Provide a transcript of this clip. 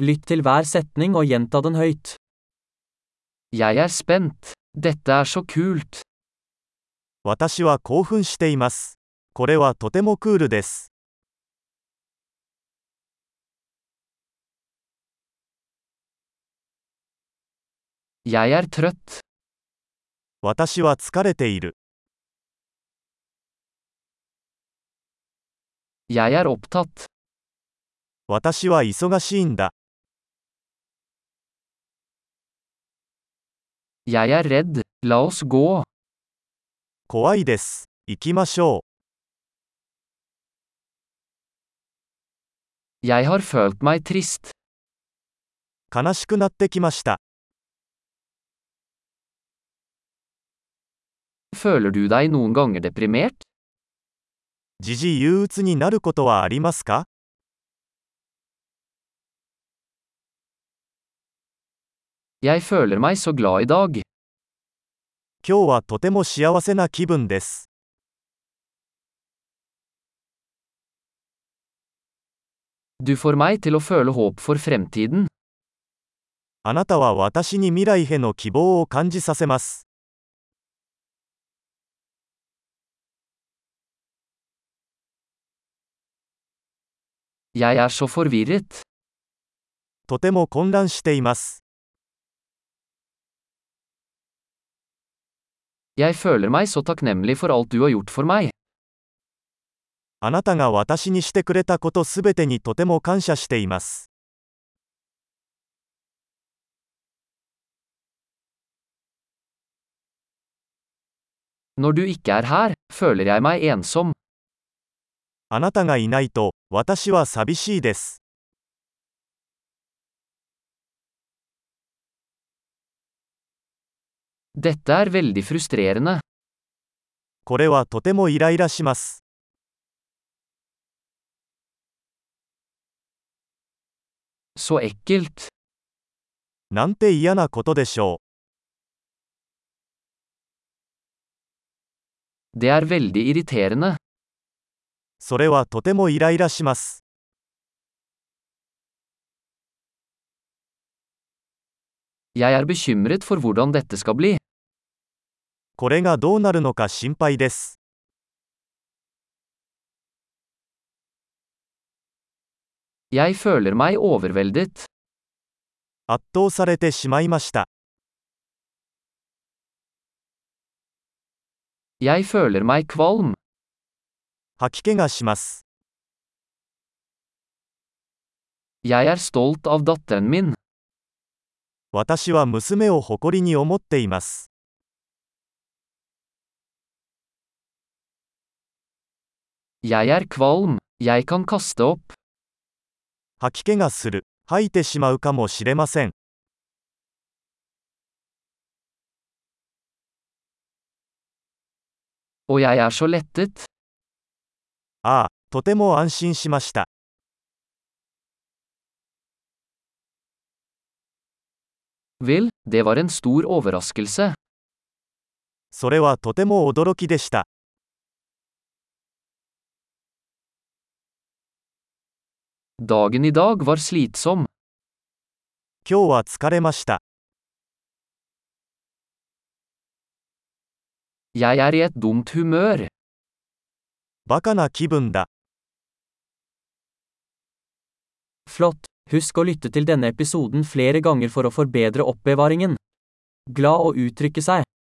Lytt til hver setning og gjenta den høyt. Jeg er spent. Dette er så kult. 私は興奮しています。これはとてもクールです。 Jeg er trøtt. 私は疲れている。 Jeg er opptatt. 私は忙しいんだ。 Jeg er redd. La oss gå. 怖いです。行きましょ Jeg har følt meg trist. う。悲しくなってきました。 Føler du deg noen ganger deprimert? 時々憂鬱になることはありますか Jeg føler meg så glad i dag. 今日はとても幸せな気分です。 Du får meg til å føle håp for fremtiden. あなたは私に未来への希望を感じさせます。 Jeg er så forvirret. とても混乱しています。 Jeg føler meg så takknemlig for alt du har gjort for meg. あなたが私にしてくれたことすべてにとても感謝しています。 Når du ikke er her, føler jeg meg ensom. あなたがいないと、私は寂しいです。 Dette er veldig frustrerende. これはとてもイライラします。 Så ekkelt. なんて嫌なことでしょう。 Det er veldig irriterende. それはとてもイライラします。 Jeg er bekymret for hvordan dette skal bli. これがどうなるのか心配です。 Jeg føler meg overveldet. 圧倒されてしまいました。 Jeg føler meg kvalm. 吐き気がします。 Jeg er stolt av datteren min. 私は娘を誇りに思っています。 Jeg er kvalm. Jeg kan kaste opp. 吐き気がする。吐いてしまうかもしれません。 Og jeg er så lettet. ああ、とても安心しました。 Vel, det var en stor overraskelse. それはとても驚きでした。 Dagen i dag var slitsom. 今日は疲れました。 Jeg er i et dumt humør. バカな気分だ。 Flott. Husk å lytte til denne episoden flere ganger for å forbedre oppbevaringen. Glad å uttrykke seg.